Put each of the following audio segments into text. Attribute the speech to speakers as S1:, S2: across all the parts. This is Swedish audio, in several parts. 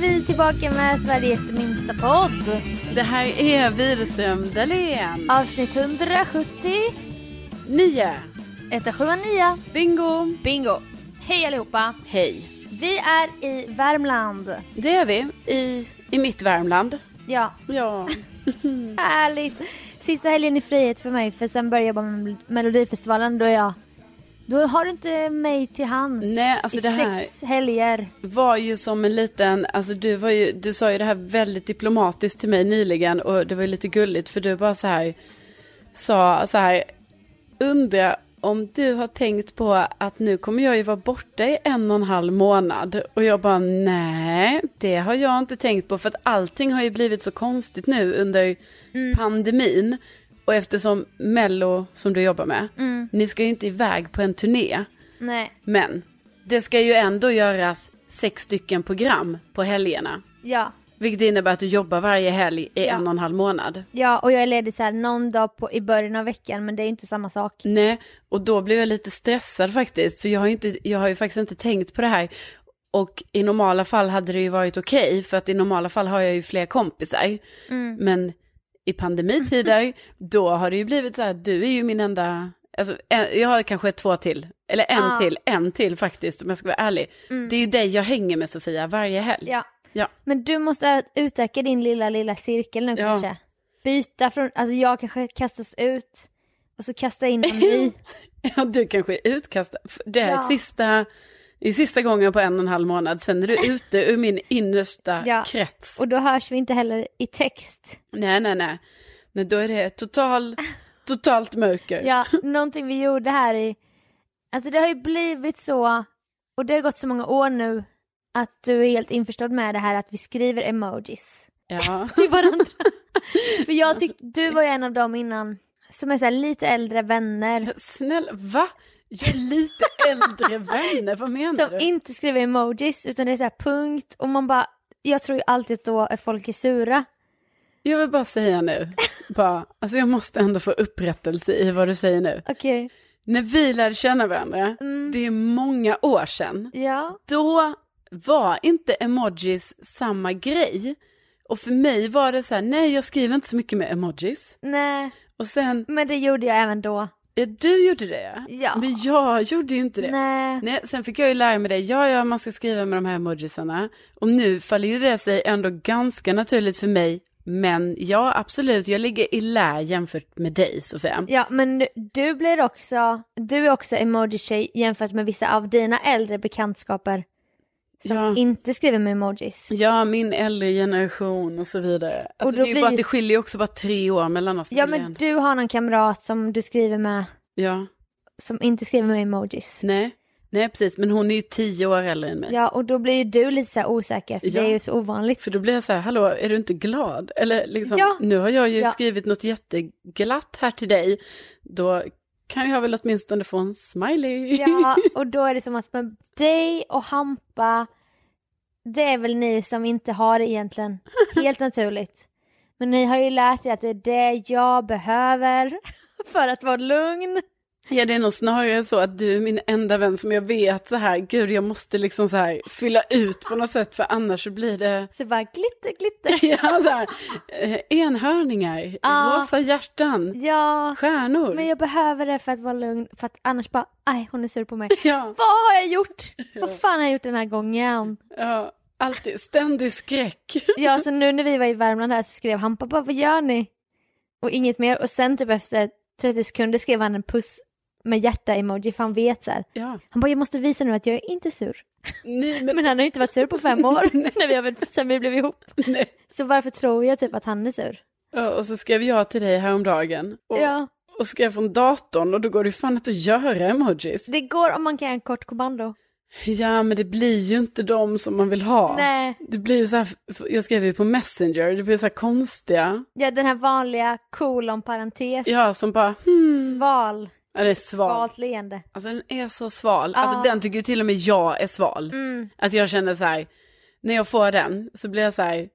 S1: tillbaka med Sveriges minsta podd.
S2: Det här är Widerström Dahlén.
S1: Avsnitt 170,
S2: 9.
S1: 179.
S2: Bingo.
S1: Bingo! Hej allihopa!
S2: Hej.
S1: Vi är i Värmland.
S2: Det är vi i, i mitt Värmland.
S1: Ja,
S2: Ja.
S1: Mm. härligt. Sista helgen i frihet för mig för sen börjar jag jobba med Melodifestivalen. Då är jag... Då har du inte mig till hands.
S2: Nej, alltså
S1: I
S2: det här
S1: sex helger.
S2: var ju som en liten, alltså du var ju, du sa ju det här väldigt diplomatiskt till mig nyligen och det var ju lite gulligt för du bara så här sa så här, undra om du har tänkt på att nu kommer jag ju vara borta i en och en halv månad och jag bara nej, det har jag inte tänkt på för att allting har ju blivit så konstigt nu under pandemin och eftersom Mello som du jobbar med, ni ska ju inte iväg på en turné.
S1: Nej,
S2: Men det ska ju ändå göras sex stycken program på helgerna.
S1: ja.
S2: Vilket innebär att du jobbar varje helg i en och en halv månad.
S1: Ja, och jag är ledig så här någon dag på, i början av veckan men det är ju inte samma sak.
S2: Nej, och då blev jag lite stressad faktiskt. För jag har ju, inte, jag har ju faktiskt inte tänkt på det här. Och i normala fall hade det ju varit okej. för att i normala fall har jag ju fler kompisar. Men i pandemitider, då har det ju blivit så här att du är ju min enda... Alltså, en, jag har kanske två till. Eller en
S1: Ja.
S2: till, en till faktiskt om jag ska vara ärlig. Det är ju dig jag hänger med Sofia varje helg.
S1: Ja.
S2: Ja.
S1: Men du måste ö- utöka din lilla, lilla cirkel nu
S2: Ja.
S1: kanske. Byta från, alltså jag kanske kastas ut och så kastar jag in någon ny.
S2: Ja, du kanske är utkastad. F- Det här
S1: Ja.
S2: är sista, i sista gången på en och en halv månad, sen är du ute ur min innersta
S1: Ja.
S2: krets.
S1: Och då hörs vi inte heller i text.
S2: Nej, nej, nej. Nej, då är det total, totalt mörker.
S1: Ja, någonting vi gjorde här i... Alltså det har ju blivit så, och det har gått så många år nu, att du är helt införstådd med det här att vi skriver emojis
S2: Ja.
S1: till varandra. För jag tyckte, du var ju en av dem innan, som är så här lite äldre vänner,
S2: Snälla, va? Jag är lite äldre vänner, vad menar
S1: som
S2: du?
S1: inte skriver emojis, utan det är så här punkt, och man bara... Jag tror ju alltid att då är folk är sura.
S2: Jag vill bara säga nu, bara, alltså jag måste ändå få upprättelse i vad du säger nu.
S1: Okej.
S2: När vi lärde känna varandra,
S1: Mm.
S2: det är många år sedan,
S1: Ja.
S2: då var inte emojis samma grej. Och för mig var det så här, nej jag skriver inte så mycket med emojis.
S1: Nej,
S2: Och sen,
S1: men det gjorde jag även då.
S2: ja, du gjorde det
S1: Ja.
S2: Men jag gjorde ju inte det.
S1: Nej.
S2: Nej, sen fick jag ju lära mig det, ja ja man ska skriva med de här emojisarna. Och nu faller ju det sig ändå ganska naturligt för mig. Men ja absolut, jag ligger i lä jämfört med dig Sofia.
S1: Ja, men du- du blir också, du är också emoji-tjej jämfört med vissa av dina äldre bekantskaper som
S2: Ja.
S1: inte skriver med emojis.
S2: Ja, min äldre generation och så vidare. Alltså,
S1: då
S2: det, är ju
S1: blir-
S2: bara, att det skiljer ju också bara tre år mellan oss.
S1: Ja,
S2: Det är
S1: men
S2: ändå-
S1: du har någon kamrat som du skriver med
S2: ja.
S1: som inte skriver med emojis.
S2: Nej, nej precis. Men hon är ju tio år äldre än mig.
S1: Ja, och då blir ju du lite så här osäker, för
S2: Ja.
S1: det är ju så ovanligt.
S2: För då blir jag så här, hallå, är du inte glad? Eller liksom,
S1: Ja.
S2: nu har jag ju
S1: Ja.
S2: skrivit något jätteglatt här till dig. Då kan jag väl åtminstone få en smiley.
S1: Ja, och då är det som att med dig och Hampa, det är väl ni som inte har det egentligen, helt naturligt. Men ni har ju lärt er att det är det jag behöver för att vara lugn.
S2: Ja, det är nog snarare så att du är min enda vän som jag vet så här, gud, jag måste liksom så här fylla ut på något sätt, för annars så blir det
S1: Så bara glitter, glitter.
S2: ja, så här, eh, enhörningar,
S1: Ja.
S2: rosa hjärtan,
S1: Ja,
S2: stjärnor.
S1: men jag behöver det för att vara lugn. För att annars bara, aj hon är sur på mig.
S2: Ja,
S1: Vad har jag gjort? Vad fan har jag gjort den här gången?
S2: ja, alltid ständig skräck.
S1: Ja, så nu när vi var i Värmland här så skrev han pappa, vad gör ni? Och inget mer. Och sen typ efter 30 sekunder skrev han en puss med hjärta-emoji för han vet så här.
S2: Ja.
S1: Han bara, jag måste visa nu att jag är inte sur.
S2: Nej, men
S1: Men han har ju inte varit sur på fem år när vi har, varit- sen vi blev ihop.
S2: nej.
S1: Så varför tror jag typ att han är sur?
S2: Ja, och så skrev jag till dig häromdagen och,
S1: Ja,
S2: och skrev från datorn och då går det ju fan inte att göra emojis.
S1: det går om man kan göra en kort kommando.
S2: Ja, men det blir ju inte de som man vill ha.
S1: Nej.
S2: Det blir ju så här, jag skrev ju på Messenger, det blir så här konstiga.
S1: Ja, den här vanliga kolon parentes,
S2: Ja, som bara, hmm,
S1: sval,
S2: ja, det är sval.
S1: svalt leende.
S2: Alltså den är så sval. Alltså
S1: Ja.
S2: den tycker ju till och med jag är sval.
S1: Mm.
S2: Att jag känner så här, när jag får den så blir jag så här,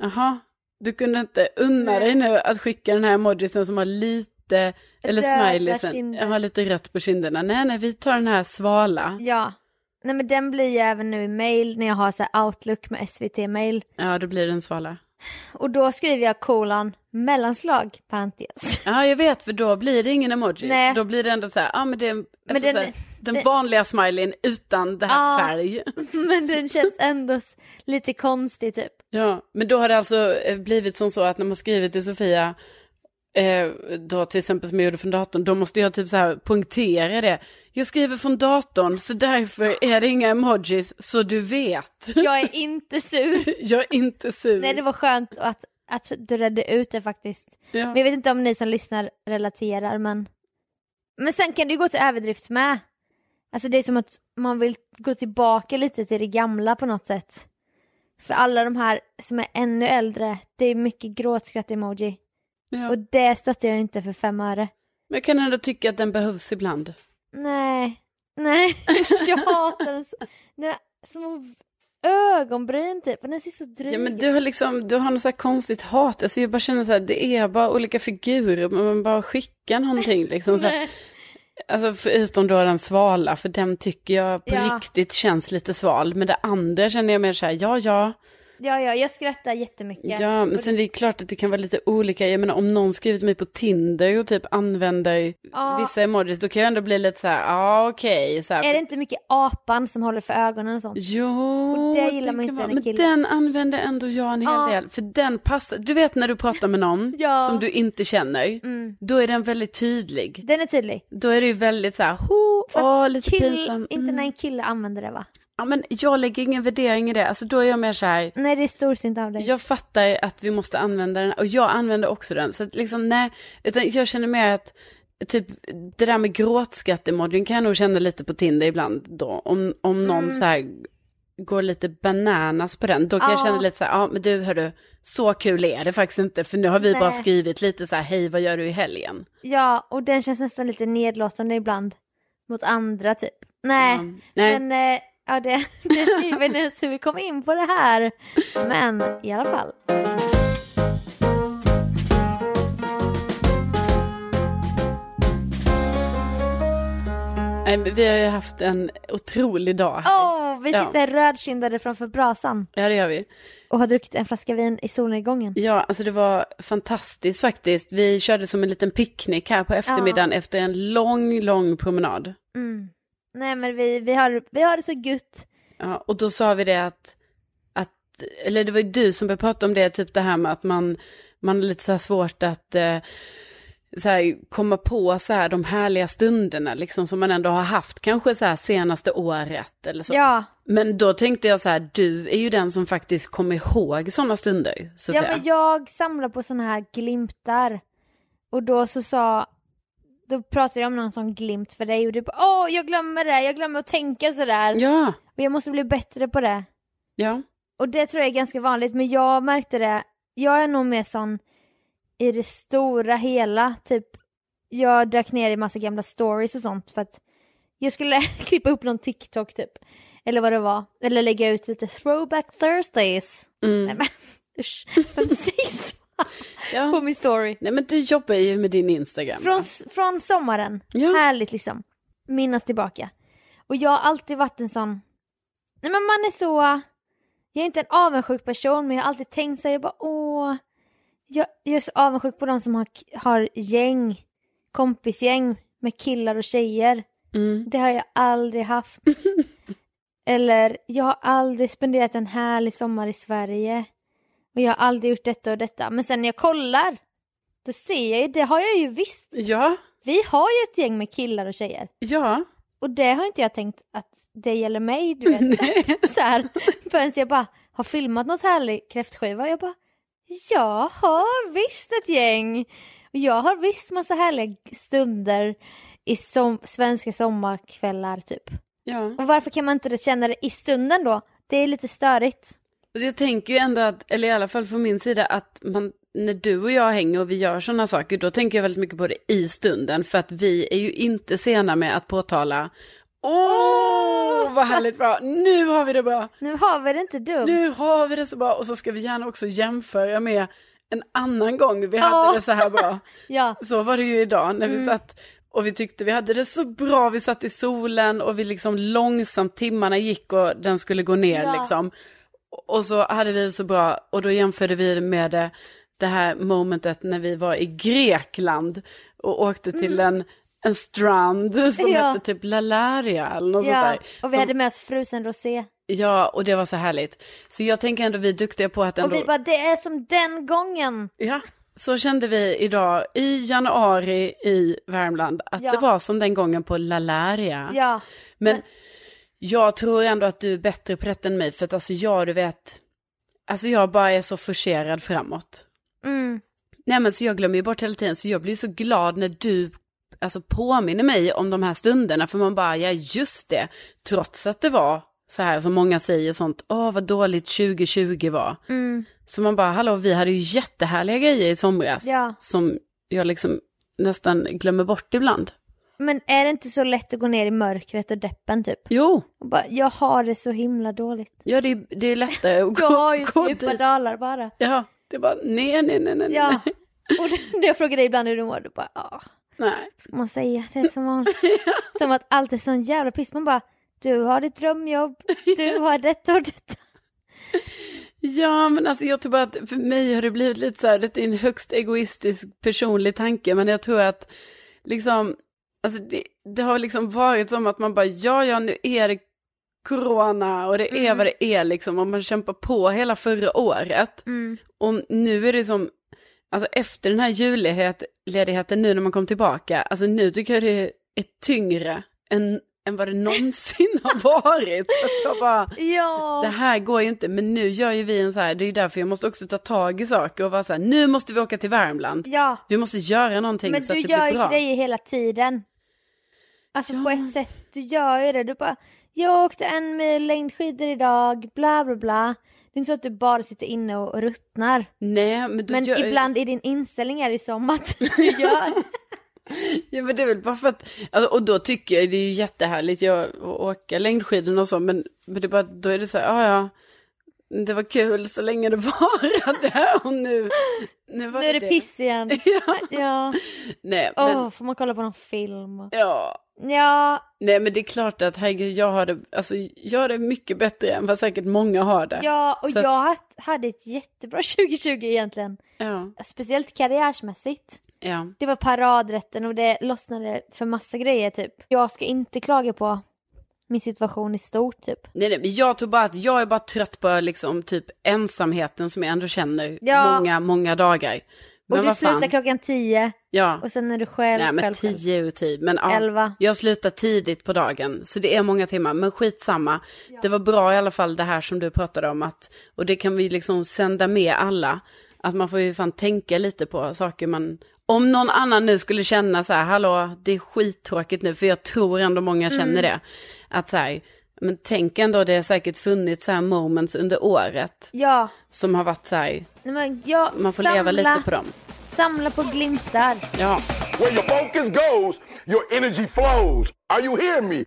S2: jaha, du kunde inte unna
S1: Nej.
S2: dig nu att skicka den här emojisen som har lite, eller
S1: Röda
S2: smileysen,
S1: kinder.
S2: jag har lite rött på kinderna. Nej, nej, vi tar den här svala.
S1: Ja. Nej men den blir ju även nu i mail när jag har så här outlook med SVT-mail.
S2: Ja, då blir det en svala.
S1: Och då skriver jag kolon mellanslag parentes.
S2: Ja, jag vet, för då blir det ingen emoji.
S1: Nej.
S2: Då blir det ändå så här, ja men det är en-
S1: Men
S2: alltså,
S1: den-
S2: så här, den
S1: den-
S2: vanliga smileyn utan det här
S1: Ja.
S2: färg.
S1: men den känns ändå s- lite konstig typ.
S2: Ja, men då har det alltså eh, blivit som så att när man skriver till Sofia, eh, då till exempel som jag gjorde från datorn, då måste jag typ så här punktera det. Jag skriver från datorn, så därför är det inga emojis, så du vet.
S1: Jag är inte sur.
S2: Jag är inte sur.
S1: Nej det var skönt att, att du redde ut det faktiskt.
S2: ja.
S1: Men jag vet inte om ni som lyssnar relaterar men... Men sen kan det ju gå till överdrift med. Alltså det är som att man vill gå tillbaka lite till det gamla på något sätt. För alla de här som är ännu äldre, det är mycket gråtskratt-emoji.
S2: ja.
S1: Och det stöttar jag inte för fem öre.
S2: Men jag kan ändå tycka att den behövs ibland.
S1: Nej, nej, jag hatar den. så- Den här små ögonbryn typ, och den ser så dryg
S2: Ja, men
S1: ut.
S2: du har liksom, du har något så här konstigt hat. Alltså jag bara känner så här, det är bara olika figurer, men man bara skickar någonting liksom. Så här.
S1: Nej.
S2: Alltså förutom då den svala, för den tycker jag på
S1: Ja.
S2: riktigt känns lite sval. Men det andra känner jag mer så här, ja ja.
S1: Ja, ja, jag skrattar jättemycket.
S2: Ja, men
S1: Och
S2: sen det är klart att det kan vara lite olika. Jag menar om någon skriver till mig på Tinder och typ använder
S1: Ja.
S2: vissa emojis, då kan jag ändå bli lite så här, ja ah, okej. så här.
S1: Är det inte mycket apan som håller för ögonen och sånt?
S2: Jo,
S1: Och det gillar man
S2: kan
S1: inte
S2: vara-
S1: när
S2: Men
S1: killar-
S2: den använder ändå jag en hel
S1: Ja.
S2: del. För den passar, du vet när du pratar med någon
S1: Ja.
S2: som du inte känner,
S1: Mm.
S2: då är den väldigt tydlig.
S1: Den är tydlig.
S2: Då är det ju väldigt så här, ho,
S1: Fast
S2: åh, lite
S1: Kill,
S2: pinsam.
S1: Inte
S2: Mm.
S1: när en kille använder det va?
S2: Ja, men jag lägger ingen värdering i det. Alltså då är jag mer så här,
S1: Nej det är storsint av dig.
S2: jag fattar att vi måste använda den och jag använder också den. Så att liksom nej, utan jag känner mer att typ det där med gråtskratt-emojin kan jag nog känna lite på Tinder ibland då. Om, om någon
S1: Mm.
S2: så här går lite bananas på den, då kan jag
S1: Ja.
S2: känna lite så här, ja men du hörru, så kul är det faktiskt inte för nu har vi bara
S1: Nej.
S2: skrivit lite så här, hej vad gör du i helgen?
S1: Ja och den känns nästan lite nedlåtande ibland. Mot andra typ. Nej.
S2: Ja, nej.
S1: Men eh, ja det, det är väl ens hur vi kom in på det här. Men i alla fall.
S2: Nej, men vi har ju haft en otrolig dag här.
S1: Åh vi
S2: Ja.
S1: sitter rödkindade framför brasan.
S2: Ja det gör vi.
S1: Och har druckit en flaska vin i solnedgången.
S2: Ja, alltså det var fantastiskt faktiskt. Vi körde som en liten picknick här på eftermiddagen efter en lång, lång promenad.
S1: Mm. Nej men vi, vi, har, vi har det så gött.
S2: Ja, och då sa vi det att, att eller det var ju du som började prata om det, typ det här med att man, man har lite så här svårt att eh, så här, komma på så här de härliga stunderna liksom som man ändå har haft kanske så här senaste året eller så.
S1: Ja.
S2: Men då tänkte jag så här, du är ju den som faktiskt kommer ihåg sådana stunder, Sofia.
S1: Ja men jag samlar på såna här glimtar. Och då så sa, då pratade jag om någon sån glimt för dig och du bara åh jag glömmer det, jag glömmer att tänka sådär.
S2: ja,
S1: Och jag måste bli bättre på det.
S2: ja.
S1: Och det tror jag är ganska vanligt men jag märkte det, jag är nog mer sån i det stora hela, typ jag dök ner i massa gamla stories och sånt för att jag skulle klippa upp någon TikTok typ. Eller vad det var. Eller lägga ut lite throwback Thursdays.
S2: Mm.
S1: Nej men usch, vem säger så?
S2: ja.
S1: på min story.
S2: Nej men du jobbar ju med din Instagram.
S1: Från,
S2: va?
S1: från sommaren.
S2: Ja.
S1: Härligt liksom. Minnas tillbaka. Och jag har alltid varit en sån... Nej men man är så... Jag är inte en avundsjuk person men jag har alltid tänkt så här, jag bara åh. Jag, jag är så avundsjuk på de som har, har gäng. Kompisgäng med killar och tjejer.
S2: Mm.
S1: Det har jag aldrig haft. Eller, jag har aldrig spenderat en härlig sommar i Sverige. Och jag har aldrig gjort detta och detta. Men sen när jag kollar, då ser jag ju, det har jag ju visst.
S2: Ja,
S1: Vi har ju ett gäng med killar och tjejer.
S2: ja.
S1: Och det har inte jag tänkt att det gäller mig, du vet.
S2: Nej.
S1: Så här. Förrän jag bara har filmat något härlig kräftskiva och jag bara, jag har visst ett gäng. Och jag har visst massa härliga stunder i som, svenska sommarkvällar typ.
S2: ja.
S1: Och varför kan man inte det- känna det i stunden då? Det är lite störigt.
S2: Och Jag tänker ju ändå att, eller i alla fall från min sida, att man, när du och jag hänger och vi gör sådana saker, då tänker jag väldigt mycket på det i stunden, för att vi är ju inte sena med att påtala Åh, vad härligt bra! Nu har vi det bra!
S1: Nu har vi det inte dumt.
S2: Nu har vi det så bra! Och så ska vi gärna också jämföra med en annan gång vi hade
S1: Ja.
S2: det så här bra.
S1: Ja, Mm.
S2: Så var det ju idag när vi satt Och vi tyckte vi hade det så bra, vi satt i solen och vi liksom långsamt, timmarna gick och den skulle gå ner
S1: Ja.
S2: liksom. Och så hade vi det så bra och då jämförde vi det med det, det här momentet när vi var i Grekland och åkte till en, en strand som
S1: Mm. Ja.
S2: hette typ Lalaria eller något sånt
S1: Ja,
S2: där.
S1: och vi
S2: Som-
S1: hade med oss frusen rosé.
S2: Ja, och det var så härligt. Så jag tänker ändå vi är duktiga på att
S1: Och
S2: ändå...
S1: vi bara, det är som den gången.
S2: Ja, så kände vi idag i januari i Värmland att
S1: Ja.
S2: det var som den gången på Lalaria.
S1: Ja,
S2: Men jag tror ändå att du är bättre på detta än mig för att alltså jag, du vet, alltså jag bara är så forcerad framåt.
S1: mm.
S2: Nej men så jag glömmer ju bort hela tiden så jag blir så glad när du alltså påminner mig om de här stunderna för man bara, ja just det, trots att det var så här som många säger sånt, åh vad dåligt 2020 var.
S1: Mm.
S2: Så man bara, hallå vi hade ju jättehärliga grejer i somras
S1: Ja.
S2: som jag liksom nästan glömmer bort ibland.
S1: Men är det inte så lätt att gå ner i mörkret och deppen typ?
S2: Jo,
S1: Och bara, jag har det så himla dåligt.
S2: ja det, är- det är lättare att
S1: Jag har ju
S2: gå
S1: djupa
S2: dit.
S1: dalar bara.
S2: Ja, det var nej, nej, nej, nej,
S1: Ja. Och när jag frågar dig ibland hur du mår, du bara, ja,
S2: nej.
S1: vad ska man säga? Det är som vanligt. Som att allt är sån jävla piss. Man bara, du har ditt drömjobb, du har detta och detta.
S2: Ja, men alltså jag tror bara att för mig har det blivit lite så här, det är en högst egoistisk personlig tanke, men jag tror att liksom, alltså det, det har liksom varit som att man bara, ja, ja, nu är det corona och det är
S1: Mm.
S2: vad det är liksom, och man kämpar på hela förra året.
S1: Mm.
S2: Och nu är det som, alltså efter den här julledigheten nu när man kom tillbaka, alltså nu tycker jag det är tyngre än, än vad det någonsin har varit. Att jag bara,
S1: Ja.
S2: det här går ju inte, men nu gör ju vi en så här, det är ju därför jag måste också ta tag i saker och vara så här, nu måste vi åka till Värmland.
S1: Ja.
S2: Vi måste göra någonting
S1: Men
S2: så
S1: du
S2: att det
S1: gör
S2: blir
S1: ju
S2: bra.
S1: grejer hela tiden. Alltså på ett sätt, du gör ju det. Du bara, jag åkte en mil längdskidor idag, bla bla bla. Det är inte så att du bara sitter inne och ruttnar.
S2: Nej, men, du
S1: Men
S2: gör...
S1: ibland i din inställning är det ju som att du gör det.
S2: Ja, men det är väl bara för att, alltså, och då tycker jag det är ju jättehärligt, jag att åka längdskidorna och så, men, men det är bara, då är det så här, ja ja, det var kul så länge det varade och nu, nu var
S1: Nu är det piss igen.
S2: Ja,
S1: Ja,
S2: nej,
S1: åh,
S2: men,
S1: får man kolla på någon film?
S2: ja,
S1: Ja,
S2: nej, men det är klart att herregud, jag har det, alltså, jag har det mycket bättre än vad säkert många har det.
S1: ja och
S2: Så att-
S1: jag haft- hade ett jättebra 2020 egentligen.
S2: ja,
S1: Speciellt karriärsmässigt.
S2: ja.
S1: Det var paradrätten och det lossnade för massa grejer typ. Jag ska inte klaga på min situation i stort typ.
S2: Nej, nej, men jag tror bara att jag är bara trött på liksom typ ensamheten som jag ändå känner
S1: Ja.
S2: många, många dagar. Men
S1: Och du
S2: vad fan.
S1: slutar klockan 10
S2: Ja.
S1: och sen är du själv,
S2: Nej men
S1: själv, själv.
S2: tio ur tid. Men ja,
S1: Elva.
S2: jag slutar tidigt på dagen. Så det är många timmar. Men skitsamma. Det var bra i alla fall det här som du pratade om. Att, och det kan vi liksom sända med alla. Att man får ju fan tänka lite på saker man... Om någon annan nu skulle känna så här, hallå, det är skittråkigt nu, för jag tror ändå många
S1: Mm.
S2: känner det. Att så här, men tänk ändå, det har säkert funnits så här moments under året
S1: Ja,
S2: som har varit så här,
S1: Nej, men ja,
S2: man får
S1: samla,
S2: leva lite på dem.
S1: Samla på glimtar.
S2: Ja.
S3: Where your focus goes, your energy flows. Are you hearing me?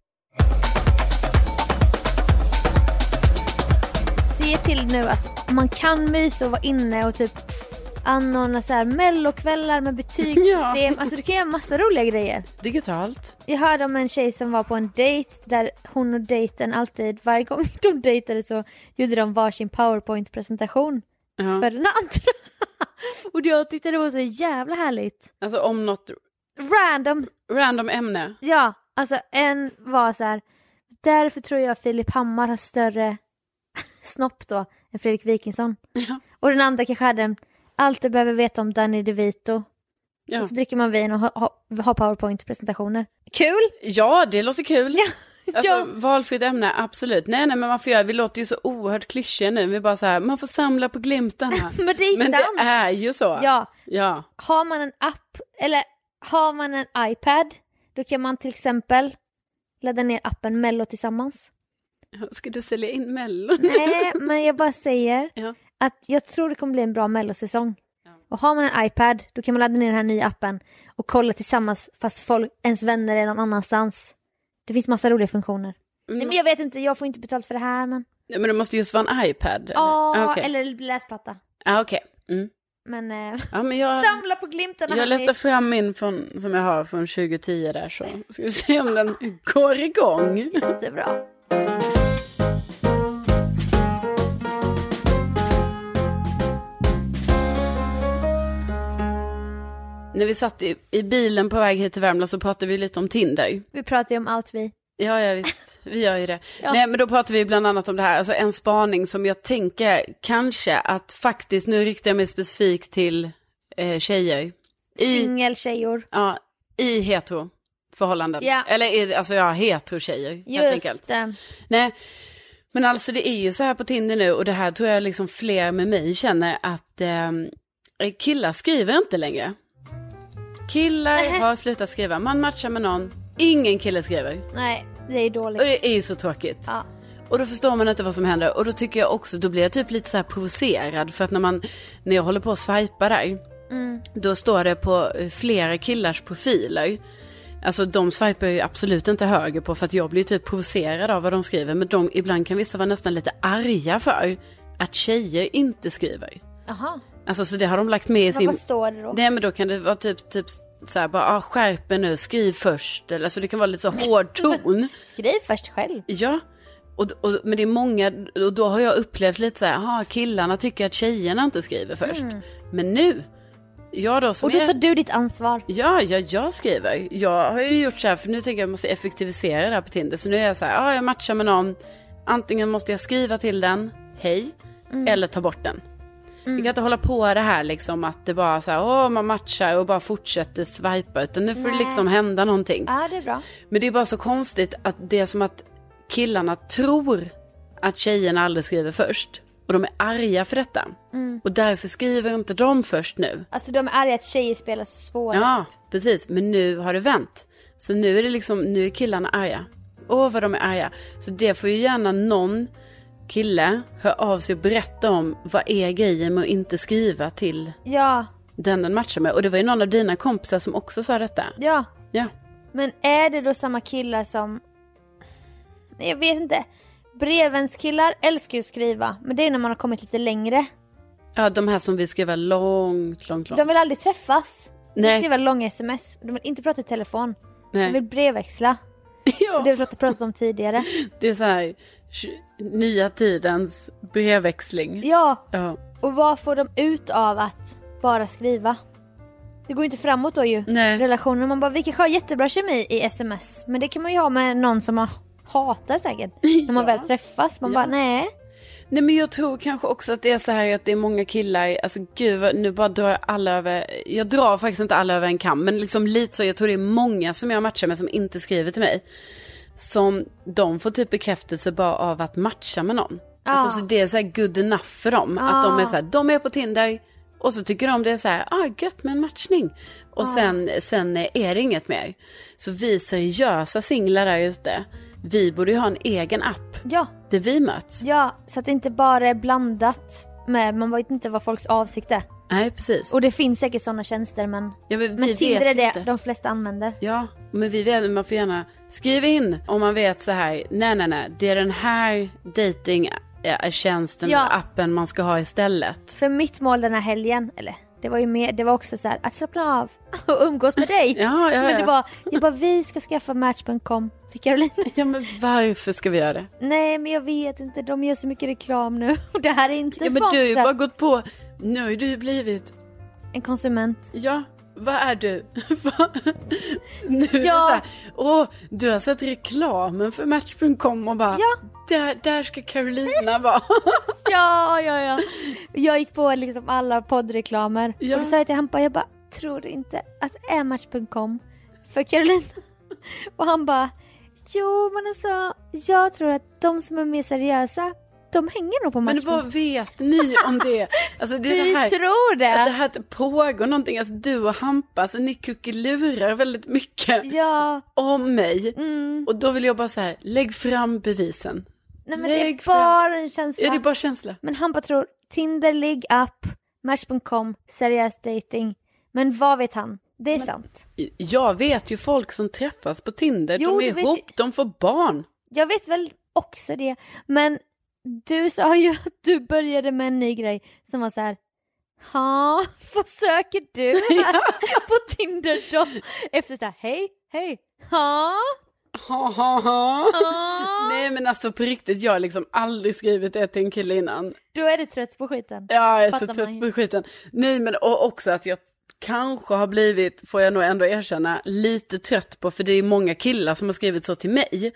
S1: Se till nu att man kan mysa och vara inne och typ anordna så här mellokvällar med betygssystem.
S2: Ja.
S1: Alltså du kan göra massa roliga grejer.
S2: Digitalt.
S1: Jag hörde om en tjej som var på en dejt där hon och dejten alltid, varje gång de dejtade så gjorde de varsin powerpoint-presentation
S2: Ja.
S1: för den andra. Och jag tyckte det var så jävla härligt.
S2: Alltså om något
S1: Random,
S2: Random ämne.
S1: ja, alltså en var så här. därför tror jag Filip Hammar har större snopp då än Fredrik Wikingsson.
S2: Ja.
S1: Och den andra kanske hade en, allt du behöver veta om Danny DeVito.
S2: Ja.
S1: Och så dricker man vin och har ha, ha powerpoint-presentationer. Kul!
S2: ja, det låter kul.
S1: Ja.
S2: Alltså,
S1: Ja.
S2: Valfritt ämne, absolut. Nej, nej, men man får göra, vi låter ju så oerhört klyschiga nu. Vi är bara så här, man får samla på glimtarna.
S1: Men det är
S2: men
S1: sant!
S2: det är ju så.
S1: Ja,
S2: ja.
S1: har man en app, eller har man en iPad, då kan man till exempel ladda ner appen Mello tillsammans.
S2: Ska du sälja in Mello?
S1: Nej, men jag bara säger
S2: Ja.
S1: att jag tror det kommer bli en bra Mellosäsong. Och har man en iPad, då kan man ladda ner den här nya appen och kolla tillsammans fast folk, ens vänner är någon annanstans. Det finns massa roliga funktioner. Nej,
S2: Mm.
S1: men jag vet inte, jag får inte betalt för det här men...
S2: Nej, men det måste just vara en iPad. eller? Ah,
S1: Ja,
S2: okej.
S1: eller läsplatta.
S2: Ah, okej. mm.
S1: Men eh,
S2: Ja, men jag,
S1: samla på glimtarna
S2: jag
S1: hörni.
S2: letar fram min från, som jag har från 2010 där så ska vi se om den går igång.
S1: Mm. Jättebra.
S2: När vi satt i, i bilen på väg hit till Värmland så pratade vi lite om Tinder.
S1: Vi pratar ju om allt
S2: Mm.
S1: vi.
S2: Ja, ja visst, vi gör ju det.
S1: Ja.
S2: Nej, men då pratar vi bland annat om det här, alltså en spaning som jag tänker kanske att faktiskt, nu riktar jag mig specifikt till eh, tjejer.
S1: Mm.
S2: I,
S1: Singeltjejor.
S2: ja, i heteroförhållanden.
S1: Ja.
S2: Eller i, alltså ja, hetero-tjejer helt enkelt.
S1: Just det.
S2: Nej, men alltså det är ju så här på Tinder nu och det här tror jag liksom fler med mig känner att eh, killar skriver inte längre. Killar
S1: Nähä.
S2: har slutat skriva, man matchar med någon, ingen kille skriver.
S1: Nej, det är dåligt.
S2: Och det är ju så tråkigt.
S1: Ja.
S2: Och då förstår man inte vad som händer och då tycker jag också, då blir jag typ lite så här provocerad för att när man, när jag håller på att swipa där,
S1: Mm.
S2: då står det på eh, flera killars profiler. Alltså de swipar jag ju absolut inte höger på för att jag blir ju typ provocerad av vad de skriver men de, ibland kan vissa vara nästan lite arga för att tjejer inte skriver.
S1: Jaha.
S2: Alltså så det har de lagt med i
S1: Men
S2: sin...
S1: vad står det då?
S2: Nej men då kan det vara typ, typ så här bara, ah, skärp er nu, skriv först. Eller, alltså det kan vara lite så hård ton.
S1: Skriv först själv.
S2: Ja, och, och, men det är många, och då har jag upplevt lite så här, aha, killarna tycker att tjejerna inte skriver först. Men nu, jag då som
S1: Mm. Och då
S2: är...
S1: tar du ditt ansvar.
S2: Ja, ja, jag skriver. Jag har ju gjort så här, för nu tänker jag att jag måste effektivisera det här på Tinder. Så nu är jag så här, ah, jag matchar med någon. Antingen måste jag skriva till den, hej,
S1: Mm.
S2: eller ta bort den. Vi kan inte hålla på det här liksom att det bara så här, åh, man matchar och bara fortsätter swipa. Utan nu får det
S1: Nej.
S2: liksom hända någonting.
S1: Ja, det är bra.
S2: Men det är bara så konstigt att det är som att killarna tror att tjejerna aldrig skriver först. Och de är arga för detta.
S1: Mm.
S2: Och därför skriver inte de först nu.
S1: Alltså de är arga att tjejer spelar så svåra.
S2: Ja, precis. Men nu har det vänt. Så nu är det liksom, nu är killarna arga. Åh, vad de är arga. Så det får ju gärna någon kille höra av sig och berätta om vad är grejen med att inte skriva till
S1: Ja,
S2: den den matchar med. Och det var ju någon av dina kompisar som också sa detta.
S1: ja.
S2: Ja.
S1: Men är det då samma killar som... Nej, Jag vet inte. Brevens killar älskar ju att skriva. Men det är ju när man har kommit lite längre.
S2: Ja, de här som vill skriva långt, långt, långt.
S1: De vill aldrig träffas. De vill
S2: Nej.
S1: skriva långa sms. De vill inte prata i telefon. De
S2: Nej.
S1: vill brevväxla.
S2: Ja.
S1: Det har vi pratat- pratat om tidigare.
S2: Det är så här, tj- nya tidens brevväxling.
S1: Ja,
S2: Ja.
S1: och vad får de ut av att bara skriva? Det går ju inte framåt då ju.
S2: Nej.
S1: Relationen. Man bara, vi kanske har jättebra kemi i sms. Men det kan man ju ha med någon som man hatar säkert. När man
S2: Ja.
S1: väl träffas. Man bara, nej.
S2: Nej men jag tror kanske också att det är så här att det är många killar, alltså gud vad- nu bara drar jag alla över, jag drar faktiskt inte alla över en kam men liksom lite så, jag tror det är många som jag matchar med som inte skriver till mig. Som de får typ bekräftelse bara av att matcha med någon. Alltså så det är så här good enough för dem. Att de är så här, de är på Tinder och så tycker de det är så här, ah gött med en matchning. Och sen, sen är det inget mer. Så vi seriösa singlar där ute, vi borde ju ha en egen app
S1: Ja,
S2: där vi möts.
S1: ja. Så att det inte bara är blandat med, man vet inte vad folks avsikt är.
S2: Nej precis.
S1: Och det finns säkert sådana tjänster men,
S2: Ja, men vi
S1: men Tinder är
S2: vet
S1: det
S2: inte.
S1: de flesta använder.
S2: Ja, men vi vet, man får gärna skriva in om man vet så här, nej nej nej, det är den här datingtjänsten
S1: Ja.
S2: eller appen man ska ha istället.
S1: För mitt mål den här helgen, eller det var ju mer, det var också så här att slappna av och umgås med dig.
S2: Ja, ja,
S1: men det
S2: ja.
S1: var, jag bara vi ska skaffa Match.com till Caroline.
S2: Ja men varför ska vi göra det?
S1: Nej men jag vet inte, de gör så mycket reklam nu. Och det här är inte
S2: Ja, men
S1: sponsrat.
S2: du har ju bara gått på, nu har ju du blivit,
S1: En konsument.
S2: ja, vad är du? Vad- nu är det
S1: Ja.
S2: så här, åh, du har sett reklamen för Match.com och bara,
S1: Ja.
S2: där, där ska Carolina vara.
S1: Ja, ja, ja. Jag gick på liksom alla poddreklamer.
S2: Ja.
S1: Och då sa jag till Hampa, jag bara, tror du inte att ematch.com för Caroline? Och han bara, jo men alltså, jag tror att de som är mer seriösa, de hänger nog på
S2: men
S1: match.
S2: vad vet ni om det? Alltså det är
S1: Vi
S2: det här.
S1: tror
S2: Att det
S1: det!
S2: här att det pågår någonting, alltså du och Hampa, alltså ni kuckelurar väldigt mycket
S1: Ja, mm.
S2: om mig. Och då vill jag bara så här, lägg fram bevisen.
S1: nej men det
S2: Lägg
S1: är
S2: fram-
S1: bara en känsla.
S2: Är det bara känsla?
S1: Men Hampa tror Tinder, ligg app, Match.com, seriös dating. Men vad vet han? Det är sant.
S2: Jag vet ju folk som träffas på Tinder,
S1: Jo,
S2: de är
S1: du vet
S2: ihop,
S1: ju-
S2: de får barn.
S1: Jag vet väl också det, men du sa ju att du började med en ny grej som var så här. Ja, vad söker du här på Tinder då? Efter så här, hej, hej, ja,
S2: Ha, ha, ha.
S1: ja.
S2: Nej men alltså på riktigt, jag har liksom aldrig skrivit det till en kille innan.
S1: Då är du trött på skiten.
S2: Ja, jag är så
S1: Fattar
S2: trött
S1: man
S2: på
S1: ju.
S2: skiten. Nej men och också att jag kanske har blivit, får jag nog ändå erkänna, lite trött på, för det är många killar som har skrivit så till mig.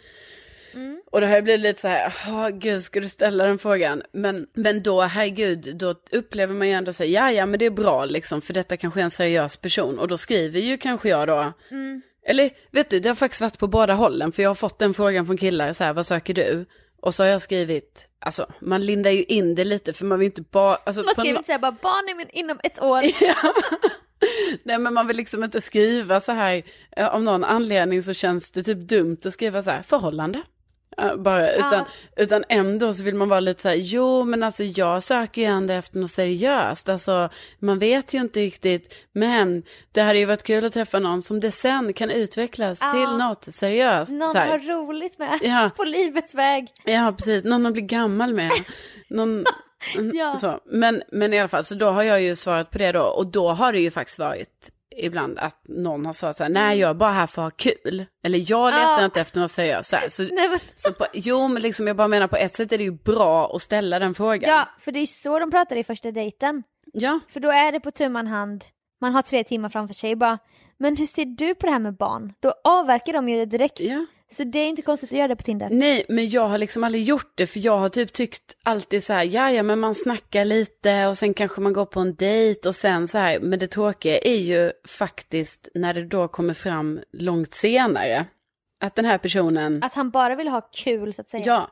S1: Mm.
S2: Och då har jag blivit lite så här, ja gud ska du ställa den frågan? Men, men då, herregud, då upplever man ju ändå så här, ja ja men det är bra liksom, för detta kanske är en seriös person. Och då skriver ju kanske jag då, eller vet du, det har faktiskt varit på båda hållen, för jag har fått den frågan från killar, så här, vad söker du? Och så har jag skrivit, alltså man lindar ju in det lite för man vill inte bara... Alltså,
S1: Man
S2: på
S1: skriver
S2: nå-
S1: inte såhär bara barn är min inom ett år.
S2: Nej men man vill liksom inte skriva så här, eh, av någon anledning så känns det typ dumt att skriva så här, förhållande. Eh, Bara, utan, utan ändå så vill man vara lite så här, jo men alltså jag söker ju ändå efter något seriöst, alltså man vet ju inte riktigt, men det hade ju varit kul att träffa någon som det sen kan utvecklas till något seriöst.
S1: Någon
S2: så här.
S1: har roligt med
S2: Ja.
S1: på livets väg.
S2: Ja, precis. Någon man blir gammal med. Någon,
S1: Ja.
S2: så. Men, men i alla fall, så då har jag ju svarat på det då. Och då har det ju faktiskt varit ibland att någon har svarat så här, nej jag är bara här för att ha kul. Eller jag letar
S1: Ja.
S2: inte efter något seriöst. Så här. Så,
S1: Nej, men,
S2: så på, jo, men liksom, jag bara menar på ett sätt är det ju bra att ställa den frågan.
S1: ja, för det är ju så de pratar i första dejten.
S2: ja.
S1: För då är det på tu man hand, man har tre timmar framför sig och bara Men hur ser du på det här med barn? Då avverkar de ju det direkt.
S2: Ja.
S1: Så det är inte konstigt att göra det på Tinder.
S2: Nej, men jag har liksom aldrig gjort det för jag har typ tyckt alltid så här, ja ja men man snackar lite och sen kanske man går på en dejt och sen så här, men det tråkiga är ju faktiskt när det då kommer fram långt senare att den här personen,
S1: Att han bara vill ha kul så att säga.
S2: ja,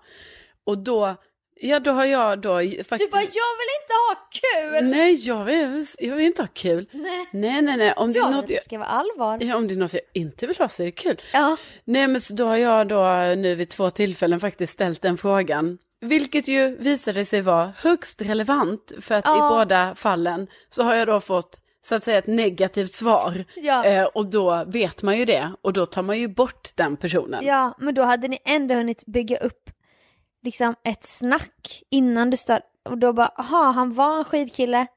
S2: och då, ja då har jag då
S1: Du
S2: faktiskt,
S1: bara jag vill inte ha kul!
S2: nej jag vill, jag vill inte ha kul,
S1: Nej.
S2: nej nej nej, om det, är
S1: Jag vill
S2: något jag,
S1: att det ska vara allvar.
S2: ja, om det är något jag inte vill ha så är det kul.
S1: Ja.
S2: Nej men så då har jag då nu vid två tillfällen faktiskt ställt den frågan. Vilket ju visade sig vara högst relevant för att i
S1: Ja.
S2: båda fallen så har jag då fått så att säga ett negativt svar.
S1: Ja.
S2: Eh, och då vet man ju det och då tar man ju bort den personen.
S1: ja, men då hade ni ändå hunnit bygga upp liksom ett snack innan du stod och då bara aha, han var en skidkille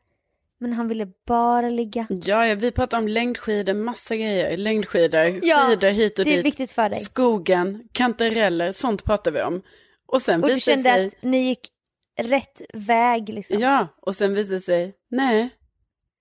S1: men han ville bara ligga.
S2: Ja, ja, vi pratar om längdskidor, massa grejer. Längdskidor,
S1: Ja,
S2: skidor hit och
S1: Det är
S2: dit.
S1: viktigt för dig.
S2: Skogen, kantareller, sånt pratar vi om. Och sen
S1: Och du
S2: visar
S1: kände
S2: sig...
S1: att ni gick rätt väg liksom.
S2: Ja, och sen visar det sig, nej,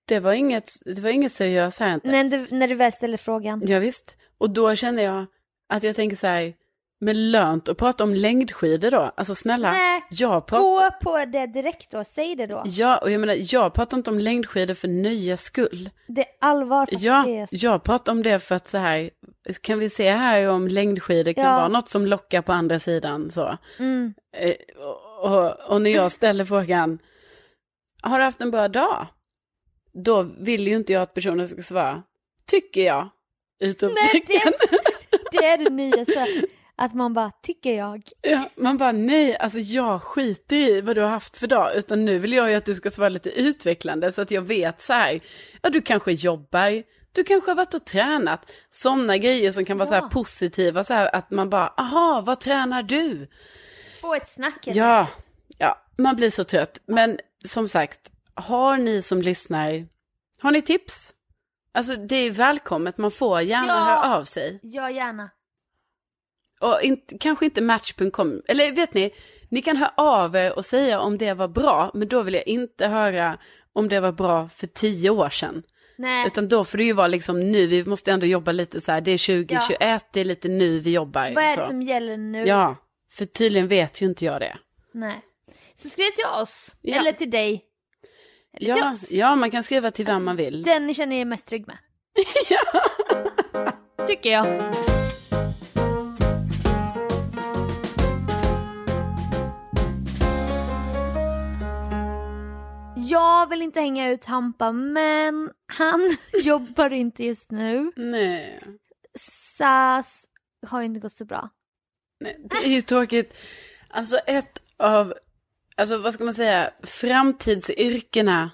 S2: det var inget, det var inget seriöst här inte.
S1: När du, när du väl ställer frågan.
S2: Ja, visst. Och då känner jag att jag tänker så här, men lönt att prata om längdskidor då? Alltså snälla,
S1: Nej,
S2: jag pratar...
S1: Gå på det direkt då, säg det då.
S2: Ja, och jag menar, jag pratar inte om längdskidor för nöjes skull.
S1: Det är allvar faktiskt.
S2: Ja, jag pratar om det för att så här, kan vi se här om längdskidor kan
S1: Ja.
S2: vara något som lockar på andra sidan så.
S1: Mm.
S2: Eh, Och, och, och när jag ställer frågan, har du haft en bra dag? Då vill ju inte jag att personen ska svara, tycker jag,
S1: Nej,
S2: utropstecken.
S1: det, det är det nyaste. Att man bara, tycker jag.
S2: Ja, man bara nej, alltså jag skiter i vad du har haft för dag, utan nu vill jag ju att du ska svara lite utvecklande så att jag vet så här, ja du kanske jobbar, du kanske har varit och tränat, sådana grejer som kan vara så här
S1: Ja.
S2: positiva, så här att man bara, aha, vad tränar du?
S1: Få ett snack. helt
S2: Ja, ja, man blir så trött, men som sagt, har ni som lyssnar, har ni tips? Alltså det är välkommet, man får gärna
S1: Ja.
S2: höra av sig.
S1: Ja, gärna.
S2: Och inte, kanske inte match.com, eller vet ni, ni kan höra av er och säga om det var bra, men då vill jag inte höra om det var bra för tio år sedan.
S1: Nej.
S2: Utan då får det ju vara liksom nu, vi måste ändå jobba lite så här, det är 2021, det är lite nu vi jobbar.
S1: Vad är det
S2: så.
S1: som gäller nu?
S2: Ja, för tydligen vet ju inte jag det.
S1: Nej. Så skriv till oss.
S2: Ja.
S1: Eller till dig. Eller Alltså, till
S2: Ja,
S1: oss.
S2: ja, man kan skriva till vem man vill.
S1: Den ni känner er mest trygg med. Tycker jag. Jag vill inte hänga ut Hampa, men han jobbar inte just nu.
S2: Nej,
S1: SAS har ju inte gått så bra.
S2: nej, det är ju tråkigt. Alltså ett av, alltså vad ska man säga, framtidsyrkena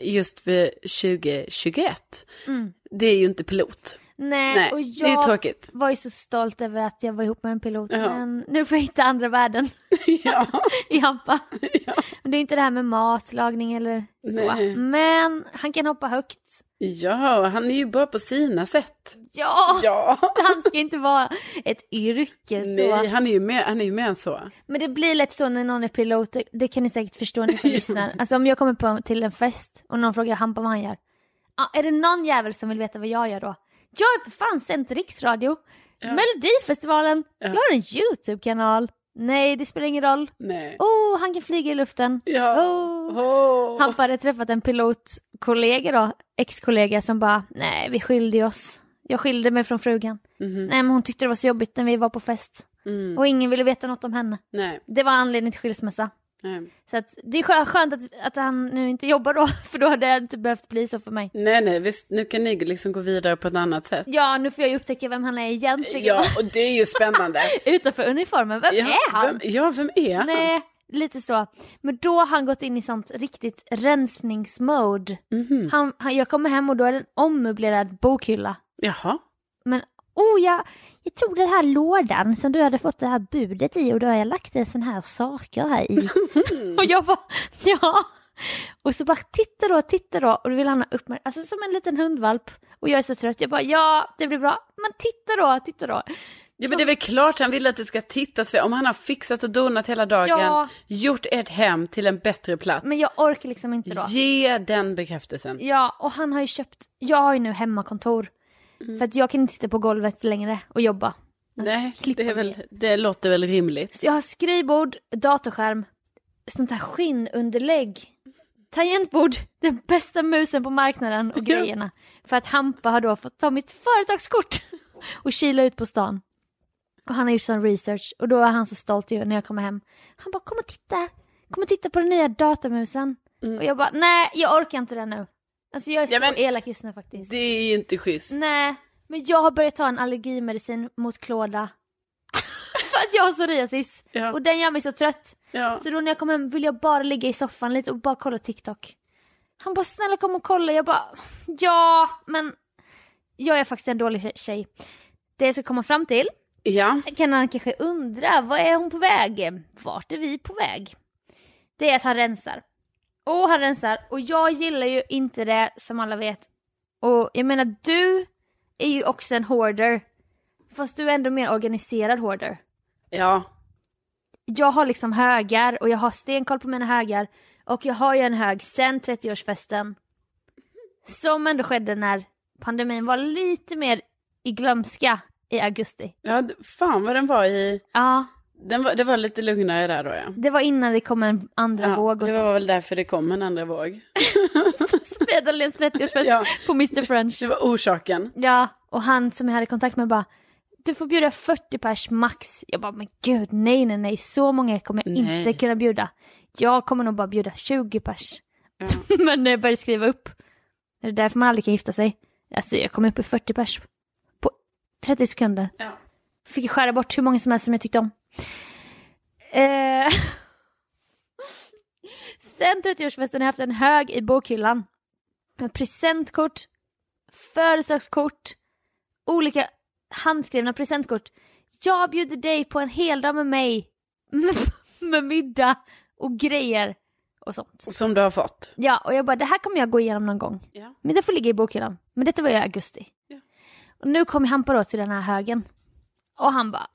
S2: just för 2021.
S1: Mm.
S2: Det är ju inte pilot.
S1: Nej,
S2: Nej,
S1: och
S2: det är ju
S1: jag
S2: tråkigt.
S1: var ju så stolt över att jag var ihop med en pilot.
S2: Ja.
S1: Men nu får jag hitta andra värden
S2: ja.
S1: i Hampa.
S2: ja.
S1: Men det är inte det här med matlagning eller så.
S2: Nej.
S1: Men han kan hoppa högt.
S2: ja, och han är ju bra på sina sätt.
S1: Ja,
S2: Ja.
S1: han ska inte vara ett yrke Ah, så.
S2: Nej, han är ju mer, han är ju mer än så.
S1: Men det blir lätt så när någon är pilot, det, det kan ni säkert förstå ni som lyssnar. Alltså om jag kommer på, till en fest och någon frågar Hampa vad han gör. Ja, är det någon jävel som vill veta vad jag gör då? Jag är för fan sänt riksradio, Melodifestivalen, jag har en YouTube-kanal. Nej, det spelar ingen roll.
S2: Nej.
S1: Oh, han kan flyga i luften.
S2: Ja.
S1: Oh.
S2: Åh.
S1: Hampa hade träffat en pilotkollega då, ex-kollega som bara, nej vi skilde oss. Jag skilde mig från frugan. Nej men hon tyckte det var så jobbigt när vi var på fest.
S2: Mhm. Mm.
S1: Och ingen ville veta något om henne.
S2: Nej.
S1: Det var anledningen till skilsmässa.
S2: Nej.
S1: Så att det är skö- skönt att, att han nu inte jobbar då, för då hade det inte behövt bli så för mig.
S2: nej, nej, visst, nu kan ni liksom gå vidare på ett annat sätt.
S1: Ja, nu får jag ju upptäcka vem han är egentligen.
S2: Ja, och det är ju spännande.
S1: Utanför uniformen, vem
S2: Ja,
S1: är han?
S2: Vem, ja, vem är han?
S1: Nej, lite så. Men då har han gått in i sånt riktigt rensningsmode.
S2: Mhm. Mm.
S1: Han, han, jag kommer hem och då är det en ommöblerad bokhylla.
S2: Jaha.
S1: Men oh, jag, jag tog den här lådan som du hade fått det här budet i och då har jag lagt det sån här saker här i. och jag bara, ja. Och så bara titta då, titta då och då vill han ha uppmärksamhet, alltså som en liten hundvalp. Och jag är så trött, jag bara ja, det blir bra, men titta då, titta då.
S2: Ja, men det är väl klart han vill att du ska titta Sven. Om han har fixat och donat hela dagen,
S1: Ja.
S2: gjort ett hem till en bättre plats.
S1: Men jag orkar liksom inte då.
S2: Ge den bekräftelsen.
S1: Ja, och han har ju köpt, jag har ju nu hemmakontor. För att jag kan inte sitta på golvet längre och jobba.
S2: Nej,
S1: klippa
S2: det, är väl,
S1: ner.
S2: det låter väl rimligt.
S1: Så jag har skrivbord, datorskärm, sånt här skinnunderlägg, tangentbord, den bästa musen på marknaden och grejerna. För att Hampa har då fått ta mitt företagskort och kila ut på stan. Och han har gjort sån research och då är han så stolt ju när jag kommer hem. Han bara kom och titta, kom och titta på den nya datamusen. Och jag bara nej, jag orkar inte det nu. Alltså jag är så
S2: Mm. Ja, men-
S1: elak just nu faktiskt.
S2: Det är ju inte schysst.
S1: Nej, men jag har börjat ta en allergimedicin mot klåda. För att jag har psoriasis.
S2: Ja.
S1: Och den gör mig så trött.
S2: Ja.
S1: Så då när jag kom hem vill jag bara ligga i soffan lite och bara kolla TikTok. Han bara snälla kom och kolla. Jag bara ja, men jag är faktiskt en dålig tje- tjej. Det jag ska komma fram till
S2: ja.
S1: kan han kanske undra, vad är hon på väg? Vart är vi på väg? Det är att han rensar. Och han rensar, och jag gillar ju inte det som alla vet. Och jag menar, du är ju också en hoarder. Fast du är ändå mer organiserad hoarder.
S2: Ja.
S1: Jag har liksom högar och jag har stenkoll på mina högar. Och jag har ju en hög sen 30-årsfesten. Som ändå skedde när pandemin var lite mer i glömska i augusti.
S2: ja, d- fan vad den var i...
S1: Ja,
S2: Den var, det var lite lugnare där då ja.
S1: Det var innan det kom en andra
S2: ja
S1: våg och
S2: det
S1: så.
S2: var väl därför det kom en andra våg.
S1: Så blev det Dahléns 30-årsfest
S2: Ja.
S1: på Mr French.
S2: Det var orsaken.
S1: Ja, och han som jag hade kontakt med bara du får bjuda 40 pers max. Jag bara, men gud, nej, nej, nej, så många kommer jag
S2: Nej.
S1: inte kunna bjuda. Jag kommer nog bara bjuda 20 pers. men när jag började skriva upp, är det därför man aldrig kan gifta sig? Alltså, jag kom upp i 40 pers på 30 sekunder.
S2: Ja.
S1: Fick ju skära bort hur många som helst som jag tyckte om. Eh. Sen 30-årsfesten har jag haft en hög i bokhyllan. Med presentkort, födelsedagskort, olika handskrivna presentkort. Jag bjuder dig på en hel dag med mig. med middag och grejer och sånt.
S2: Som du har fått.
S1: Ja, och jag bara, det här kommer jag gå igenom någon gång.
S2: Ja.
S1: Men det får ligga i bokhyllan. Men detta var ju i augusti.
S2: Ja.
S1: Och nu kommer Hampa då till den här högen. Och han bara.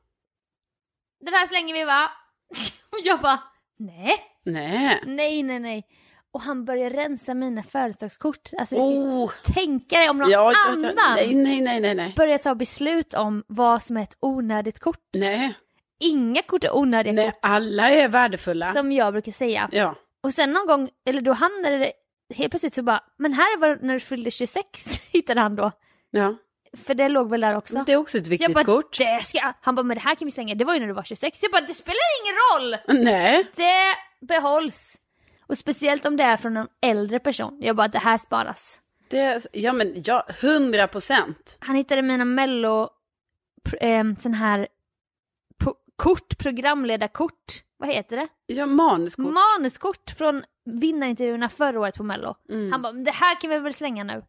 S1: Den här slänger vi va? Och jag bara. Nej,
S2: Nej.
S1: nej, nej, nej. Och han börjar rensa mina företagskort. Alltså
S2: Oh.
S1: tänka dig om någon
S2: Ja, ja,
S1: annan
S2: ja. Nej, nej, nej, nej, nej.
S1: börjar ta beslut om vad som är ett onödigt kort.
S2: Nej,
S1: Inga kort är onödiga
S2: nej, alla är värdefulla.
S1: kort, som jag brukar säga.
S2: Ja.
S1: Och sen någon gång, eller då hamnade det helt plötsligt så bara, men här var när du fyllde 26 hittade han då.
S2: ja.
S1: För det låg väl där också.
S2: Det är också ett
S1: Jag
S2: viktigt
S1: bara,
S2: kort.
S1: det ska jag. Han bara, men det här kan vi slänga, det var ju när du var 26. Jag bara, det spelar ingen roll!
S2: Nej.
S1: Det behålls. Och speciellt om det är från en äldre person. Jag bara, det här sparas.
S2: Det, ja men ja, hundra procent.
S1: Han hittade mina mello, pr- ehm, sån här, po- kort, programledarkort. Vad heter det?
S2: Ja, manuskort.
S1: Manuskort från vinnarintervjuerna förra året på mello.
S2: Mm.
S1: Han bara, men det här kan vi väl slänga nu.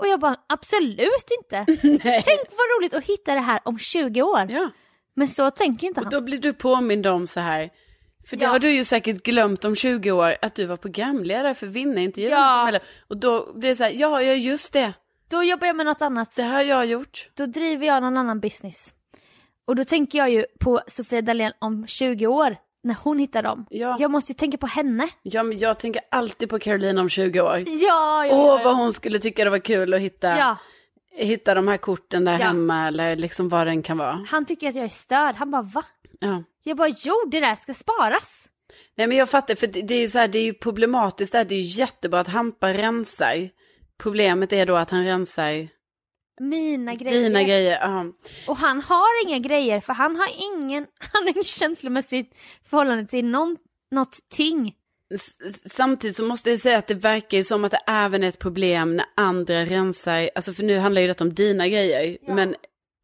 S1: Och jag bara absolut inte. Tänk vad roligt att hitta det här om 20 år.
S2: Ja.
S1: Men så tänker inte
S2: Och
S1: han.
S2: då blir du påmind om så här. För det
S1: Ja.
S2: har du ju säkert glömt om 20 år att du var programledare för vinnarintervjun.
S1: Ja.
S2: Pamela. Och då blir det så här, ja, ja just det.
S1: Då jobbar jag med något annat.
S2: Det har jag gjort.
S1: Då driver jag någon annan business. Och då tänker jag ju på Sofia Dalén om 20 år. När hon hittar dem.
S2: Ja.
S1: Jag måste ju tänka på henne.
S2: Ja, men jag tänker alltid på Caroline om 20 år.
S1: Ja, ja,
S2: Åh,
S1: ja, ja.
S2: vad hon skulle tycka det var kul att hitta,
S1: ja.
S2: hitta de här korten där
S1: Ja.
S2: hemma eller liksom vad den kan vara.
S1: Han tycker att jag är störd. Han bara va?
S2: Ja.
S1: Jag bara jo, det där ska sparas.
S2: Nej, men jag fattar, för det, det är ju så här, det är ju problematiskt där. Det är ju jättebra att Hampa rensar. Problemet är då att han rensar
S1: Mina grejer.
S2: dina grejer. Ja.
S1: Och han har inga grejer för han har ingen, han har ingen känslomässigt förhållande till någon, något ting.
S2: S- s- Samtidigt så måste jag säga att det verkar ju som att det även är ett problem när andra rensar, alltså för nu handlar ju detta om dina grejer,
S1: Ja.
S2: men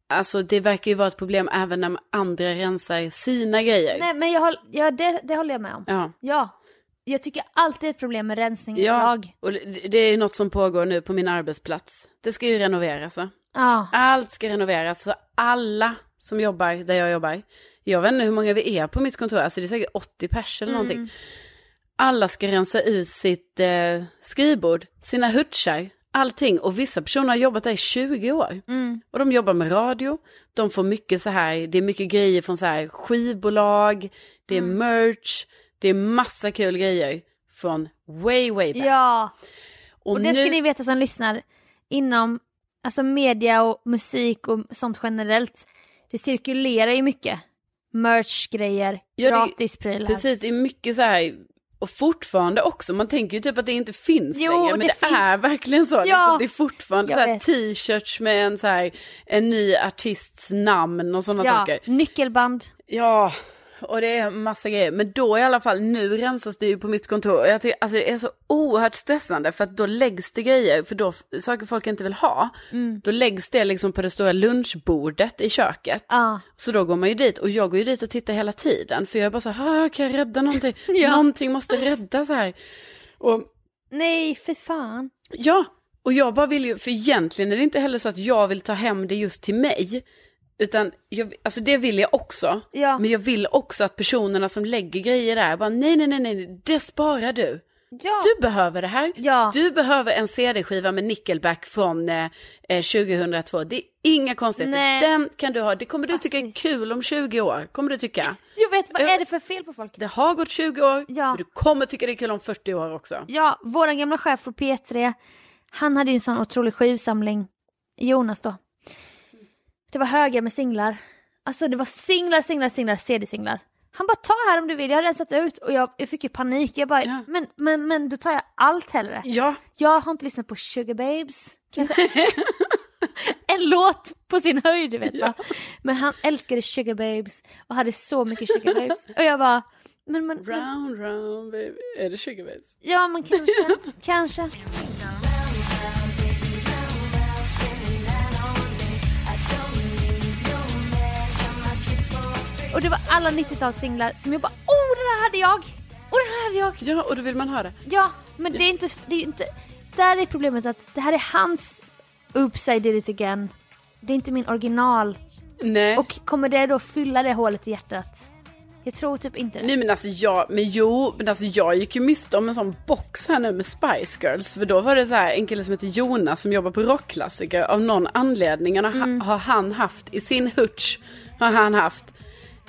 S2: alltså det verkar ju vara ett problem även när andra rensar sina grejer.
S1: Nej men jag håll, ja, det, det håller jag med om. Ja.
S2: Ja,
S1: Jag tycker alltid det är ett problem med rensning
S2: ja.
S1: överlag.
S2: och det det är ju något som pågår nu på min arbetsplats. Det ska ju renoveras va?
S1: Ja.
S2: Allt ska renoveras, så alla som jobbar där jag jobbar, jag vet inte hur många vi är på mitt kontor, alltså det är säkert 80 pers eller
S1: Mm.
S2: någonting. Alla ska rensa ut sitt eh, skrivbord, sina hutschar, allting. Och vissa personer har jobbat där i 20 år.
S1: Mm.
S2: Och de jobbar med radio, de får mycket så här, det är mycket grejer från så här skivbolag, det
S1: Mm.
S2: är merch, det är massa kul grejer från way, way back.
S1: Ja.
S2: och
S1: Och det ska
S2: nu-
S1: ni veta som lyssnar, inom alltså media och musik och sånt generellt, det cirkulerar ju mycket. Merch-grejer,
S2: Ja, det-
S1: gratisprylar.
S2: Precis, det är mycket så här, och fortfarande också, man tänker ju typ att det inte finns
S1: Jo,
S2: längre, men
S1: det
S2: det, är verkligen så. Liksom, det är fortfarande
S1: Jag
S2: så här
S1: vet.
S2: t-shirts med en, så här, en ny artists namn och sådana
S1: ja,
S2: saker.
S1: nyckelband.
S2: Ja, och det är massa grejer. Men då i alla fall, nu rensas det ju på mitt kontor. Och jag tycker, alltså det är så oerhört stressande för att då läggs det grejer, för då f- saker folk inte vill ha,
S1: Mm.
S2: då läggs det liksom på det stora lunchbordet i köket.
S1: Ja.
S2: Så då går man ju dit och jag går ju dit och tittar hela tiden för jag är bara så här, "Ah, kan jag rädda någonting?
S1: Ja.
S2: Någonting måste räddas här. Och
S1: Nej, för fan.
S2: ja, och jag bara vill ju, för egentligen är det inte heller så att jag vill ta hem det just till mig. Utan, jag, alltså det vill jag också.
S1: Ja.
S2: Men jag vill också att personerna som lägger grejer där bara, nej, nej, nej, nej, det sparar du.
S1: Ja.
S2: Du behöver det här.
S1: Ja.
S2: Du behöver en CD-skiva med Nickelback från eh, eh, 2002. Det är inga konstigheter.
S1: Nej.
S2: Den kan du ha. Det kommer du tycka är
S1: Faktiskt.
S2: kul om 20 år. Kommer du tycka.
S1: Jag vet, vad
S2: Ja.
S1: är det för fel på folk?
S2: Det har gått 20 år.
S1: Ja.
S2: Men du kommer tycka det är kul om 40 år också.
S1: Ja, våran gamla chef från P3, han hade ju en sån otrolig skivsamling, Jonas då. Det var höger med singlar. Alltså det var singlar, singlar, singlar, CD-singlar. Han bara ta här om du vill, jag har rensat ut och jag, jag fick ju panik. Jag bara,
S2: Ja.
S1: men, men, men då tar jag allt hellre.
S2: Ja.
S1: Jag har inte lyssnat på Sugar Babes, kanske. en låt på sin höjd, du vet va. Men han älskade Sugar Babes och hade så mycket Sugar Babes. Och jag bara, men, men, men
S2: Round, round, baby. Är det 20 babes?
S1: Ja, men kanske. kanske. Och det var alla 90-talssinglar som jag bara Åh, den här hade jag! Och den här hade jag!
S2: Ja, och då vill man ha det.
S1: Ja, men det är inte... Det är inte där är problemet att det här är hans Oops, I did it again. Det är inte min original.
S2: Nej.
S1: Och kommer det då fylla det hålet i hjärtat? Jag tror typ inte det.
S2: Nej men alltså jag, men jo, men alltså jag gick ju miste om en sån box här nu med Spice Girls. För då var det så här en kille som heter Jonas som jobbar på rockklassiker. Av någon anledning har, har han haft, i sin hutch har han haft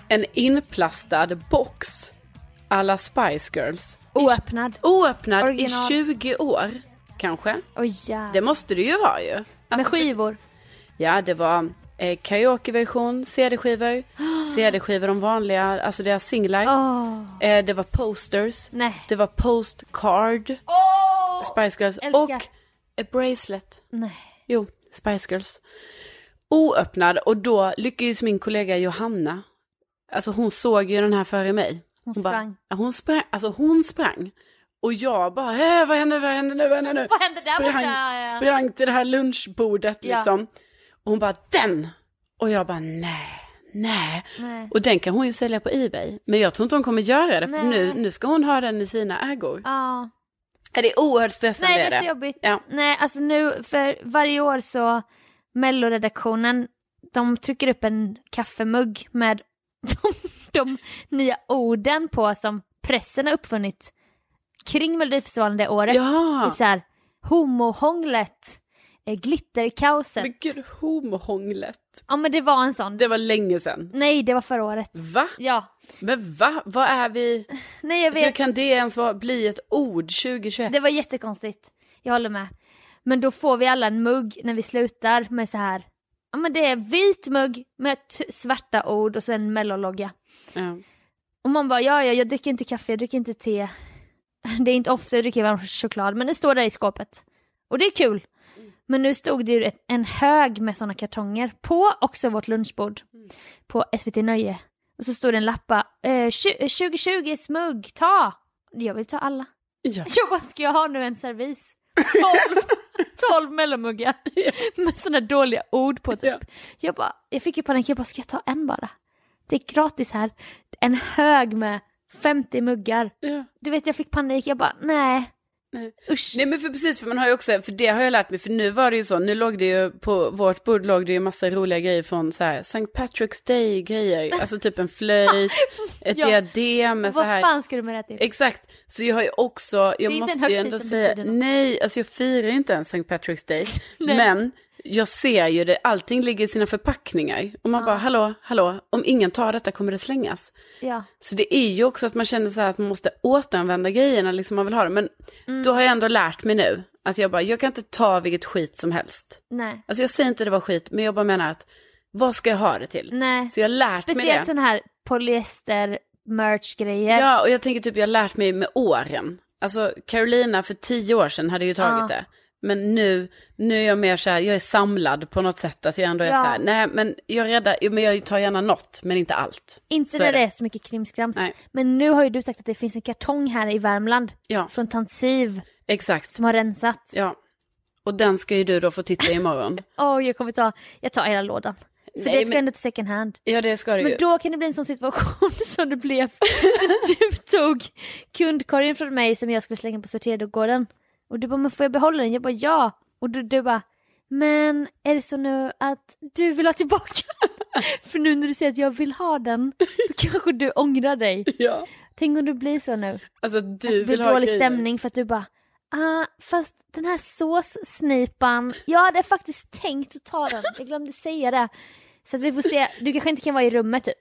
S2: en inplastad box alla Spice Girls.
S1: Oöppnad.
S2: Oöppnad
S1: Original.
S2: i 20 år kanske.
S1: Oj jävlar.
S2: Det måste det ju vara ju.
S1: Med
S2: Alltså,
S1: skivor.
S2: Ja, det var eh, karaokeversion, CD-skivor, CD-skivor de vanliga, alltså deras singlar.
S1: Åh.
S2: Eh, det var posters,
S1: Nej.
S2: det var postcard,
S1: Åh!
S2: Spice Girls
S1: Älskar.
S2: och a bracelet.
S1: Nej.
S2: Jo, Spice Girls. Oöppnad och då lyckades min kollega Johanna, alltså hon såg ju den här före mig.
S1: Hon sprang.
S2: Bara, ja, hon sprang. Alltså hon sprang. Och jag bara, "Eh, vad händer, vad händer nu, vad händer nu?
S1: Vad hände där borta?
S2: sprang,
S1: Ja, ja.
S2: sprang till det här lunchbordet
S1: Ja.
S2: liksom. Och hon bara den! Och jag bara nej, nej.
S1: Nej.
S2: Och den kan hon ju sälja på Ebay. Men jag tror inte hon kommer göra det för
S1: Nej.
S2: nu, nu ska hon ha den i sina ägor.
S1: Ja.
S2: Är det är oerhört stressande.
S1: Nej, det är så jobbigt.
S2: Ja.
S1: Nej, alltså nu, för varje år så, melloredaktionen, de trycker upp en kaffemugg med de, de nya orden på som pressen har uppfunnit kring Melodifestivalen det året.
S2: Ja.
S1: Typ såhär, homohånglet, eh, glitterkaoset.
S2: Men gud, homohånglet.
S1: Ja men det var en sån.
S2: Det var länge sedan.
S1: Nej, det var förra året.
S2: Va?
S1: Ja.
S2: Men va? Vad är vi?
S1: Nej, jag
S2: Hur
S1: vet.
S2: kan det ens vara, bli ett ord 2021?
S1: Det var jättekonstigt. Jag håller med. Men då får vi alla en mugg när vi slutar med så här. Ja men det är vit mugg med t- svarta ord och så en mellologga.
S2: Ja.
S1: Och man bara ja ja, jag dricker inte kaffe, jag dricker inte te. Det är inte ofta jag dricker varm choklad men det står där i skåpet. Och det är kul. Men nu stod det ju ett- en hög med sådana kartonger på också vårt lunchbord på SVT Nöje. Och så stod det en lappa, eh, tju- 2020s mugg, ta! Jag vill ta alla.
S2: Ja.
S1: Jo, vad ska jag ha nu en servis? 12, 12 mellomuggar med sådana dåliga ord på typ.
S2: Ja.
S1: Jag, bara, jag fick ju panik, jag bara ska jag ta en bara? Det är gratis här. En hög med 50 muggar.
S2: Ja.
S1: Du vet jag fick panik, jag bara nej.
S2: Nej.
S1: Usch.
S2: Nej men för precis, för man har ju också, för det har jag lärt mig, för nu var det ju så, nu låg det ju, på vårt bord låg det ju massa roliga grejer från så här, St. Patrick's Day-grejer, alltså typ en flöjt, ett
S1: Ja.
S2: diadem med så
S1: Vad
S2: här.
S1: fan ska du med det till?
S2: Exakt, så jag har ju också, jag
S1: inte en
S2: måste ju
S1: högtid
S2: ändå
S1: som
S2: säga,
S1: betyder något.
S2: nej, alltså jag firar ju inte ens St. Patrick's Day, men jag ser ju det, allting ligger i sina förpackningar. Och man bara, hallå, hallå, om ingen tar detta kommer det slängas.
S1: Ja.
S2: Så det är ju också att man känner så här att man måste återanvända grejerna liksom man vill ha dem. Men
S1: Mm.
S2: då har jag ändå lärt mig nu att jag bara, jag kan inte ta vilket skit som helst.
S1: Nej.
S2: Alltså jag säger inte det var skit, men jag bara menar att vad ska jag ha det till?
S1: Nej.
S2: Så jag har lärt mig det.
S1: Mm. Speciellt sådana här polyester merch grejer.
S2: Ja, och jag tänker typ jag har lärt mig med åren. Alltså Carolina för tio år sedan hade ju tagit
S1: Ja.
S2: det. Men nu, nu är jag mer så här, jag är samlad på något sätt. Att jag ändå är
S1: Ja.
S2: så här, nej men jag räddar, jo, men jag tar gärna något, men inte allt.
S1: Inte
S2: Så
S1: när
S2: är
S1: det.
S2: det.
S1: är så mycket krimskrams.
S2: Nej.
S1: Men nu har ju du sagt att det finns en kartong här i Värmland
S2: Ja,
S1: från Tansiv
S2: exakt.
S1: som har rensats.
S2: Ja. Och den ska ju du då få titta i imorgon.
S1: Åh, jag kommer ta, jag tar hela lådan. För
S2: Nej,
S1: det ska
S2: men-
S1: ändå till second hand.
S2: Ja, det ska du
S1: Men
S2: ju.
S1: då kan det bli en sån situation som det blev. Du tog kundkorgen från mig som jag skulle slänga på sortergården. Och du bara, men får jag behålla den? Jag bara, ja. Och du, du bara, men är det så nu att du vill ha tillbaka den? För nu när du säger att jag vill ha den, då kanske du ångrar dig.
S2: Ja.
S1: Tänk om det blir så nu.
S2: Alltså
S1: att
S2: du
S1: det blir
S2: vill ha
S1: dålig
S2: grejer.
S1: stämning för att du bara Ah, fast den här såssnipan, jag hade faktiskt tänkt att ta den, jag glömde säga det. Så att vi får se, du kanske inte kan vara i rummet typ.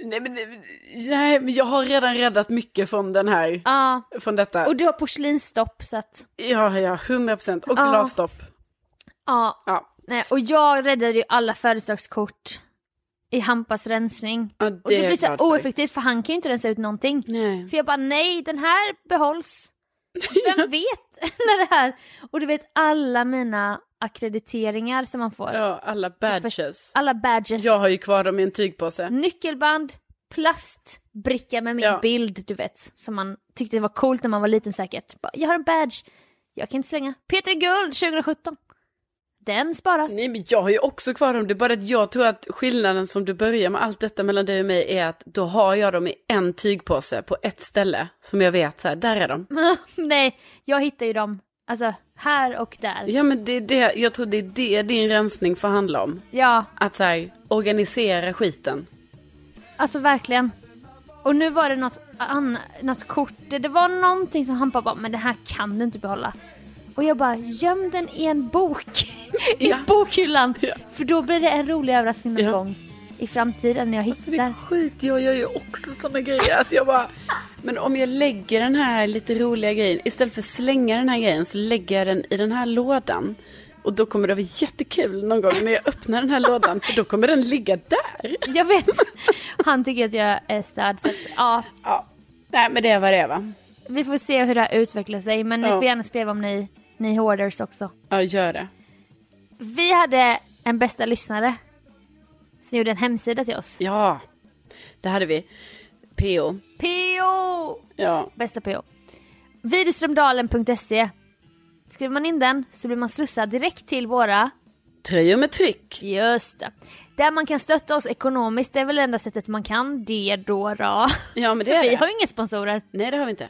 S1: Ja,
S2: Nej men, nej, men jag har redan räddat mycket från den här, från detta.
S1: och du har porslinsstopp så att,
S2: Ja, ja, 100 procent. Och
S1: Ja.
S2: glasstopp.
S1: ja.
S2: Ja.
S1: Nej, och jag räddade ju alla födelsedagskort i Hampas rensning.
S2: ja, det
S1: Och det,
S2: är jag
S1: blir så
S2: glad
S1: här
S2: för dig.
S1: oeffektivt för han kan ju inte rensa ut någonting.
S2: Nej.
S1: För jag bara nej, den här behålls. Vem vet när det här... Och du vet alla mina akkrediteringar som man får.
S2: Ja, alla badges.
S1: Alla badges.
S2: Jag har ju kvar dem i en
S1: Mm.
S2: tygpåse.
S1: Nyckelband, plastbricka med min
S2: Ja.
S1: bild, du vet. Som man tyckte var coolt när man var liten säkert. Bara, jag har en badge, jag kan inte slänga. Peter Guld 2017. Den sparas.
S2: Nej men jag har ju också kvar dem, det är bara att jag tror att skillnaden som du börjar med allt detta mellan dig och mig är att då har jag dem i en tygpåse på ett ställe som jag vet så här, där är
S1: Mm.
S2: de.
S1: Nej, jag hittar ju dem. Alltså, här och där. Ja.
S2: Ja men det är det, jag tror det är det din rensning får handla om. Att så här, organisera skiten.
S1: alltså verkligen. Och nu var det något, an- något kort, det det var någonting som han bara, bara, men det här kan du inte behålla. Och jag bara, göm den i en bok. I
S2: Ja.
S1: bokhyllan.
S2: Ja.
S1: För då blir det en rolig överraskning någon
S2: Ja. Alltså,
S1: gång i framtiden när jag hittar.
S2: Det är skit, jag gör ju också sådana grejer att jag bara... Men om jag lägger den här lite roliga grejen, istället för att slänga den här grejen så lägger jag den i den här lådan. Och då kommer det vara jättekul någon gång när jag öppnar den här lådan för då kommer den ligga där.
S1: Jag vet. Han tycker att jag är störd. Så att, ja,
S2: Ja, nej men det var det va?
S1: vi får se hur det här utvecklar sig. Men ni
S2: Ja.
S1: får gärna skriva om ni, ni hoarders också.
S2: Ja, gör det.
S1: Vi hade en bästa lyssnare. Som gjorde en hemsida till oss.
S2: Ja, det hade vi. PO.
S1: PO!
S2: Ja,
S1: Bästa PO. Widerströmdalen.se Skriver man in den så blir man slussad direkt till våra
S2: tröjor med tryck.
S1: Just det. Där man kan stötta oss ekonomiskt, det är väl det enda sättet man kan det då. då.
S2: Ja, men det
S1: För
S2: är
S1: vi
S2: det.
S1: har ju inga sponsorer.
S2: Nej, det har vi inte.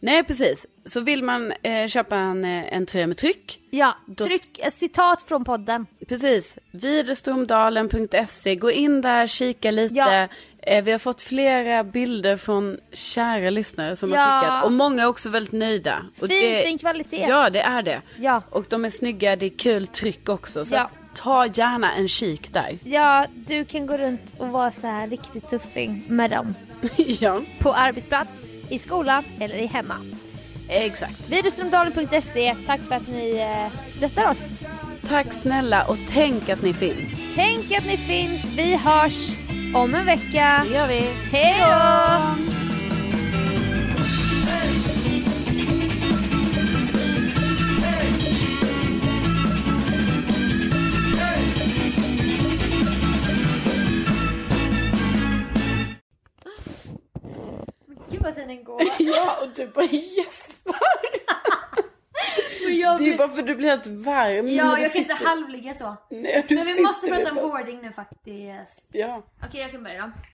S2: Nej, precis. Så vill man eh, köpa en, eh, en tröja med tryck,
S1: Ja,
S2: Då-
S1: tryck ett citat från podden.
S2: precis, virestomdalen.se, E. gå in där, kika lite.
S1: Ja.
S2: Eh, vi har fått flera bilder från kära lyssnare som
S1: Ja.
S2: har skickat och många är också väldigt nöjda. Och
S1: Fin, fin kvalitet.
S2: Ja, det är det.
S1: Ja.
S2: Och de är snygga, det är kul tryck också. Så
S1: Ja.
S2: att, ta gärna en kik där.
S1: Ja, du kan gå runt och vara så här riktigt tuffing med dem.
S2: ja,
S1: På arbetsplats, i skolan eller i hemma.
S2: exakt.
S1: Virustrumdalen.se, tack för att ni eh, stöttar oss.
S2: Tack snälla och tänk att ni finns.
S1: Tänk att ni finns, vi hörs om en vecka.
S2: Det gör vi.
S1: Hej då! Gud vad tiden går.
S2: Ja, och du bara gäspar.
S1: Jag
S2: Det är ju bara för att du blir helt varm. när
S1: Ja,
S2: du
S1: jag kan inte
S2: sitter-
S1: halvligga så.
S2: Nej, du
S1: Men vi
S2: sitter
S1: måste
S2: där
S1: prata om
S2: bara.
S1: hoarding nu faktiskt.
S2: Ja.
S1: Okej, jag kan börja då.